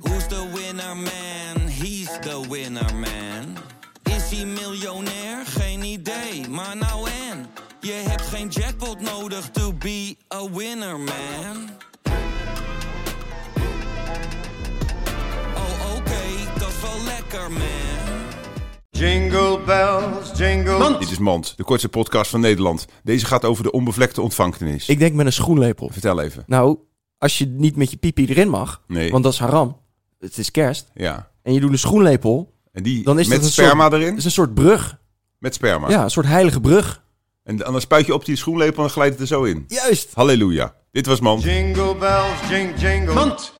Who's the winner man? He's the winner man. Is hij miljonair? Geen idee, maar nou en. Je hebt geen jackpot nodig to be a winner man. Oh oké, dat is wel lekker man. Jingle bells, jingle... Oh, Dit is Mand, de kortste podcast van Nederland. Deze gaat over de onbevlekte ontvangenis. Ik denk met een schoenlepel. Vertel even. Nou, als je niet met je pipi erin mag, Nee. want dat is haram. Het is kerst. Ja. En je doet een schoenlepel. En die Dan is met dat een sperma Het erin? Ah. is een soort brug. Met sperma. Ja, een soort heilige brug. En dan spuit je op die schoenlepel en dan glijdt het er zo in. Juist. Halleluja. Dit was Mand. Jingle bells, jing, jingle...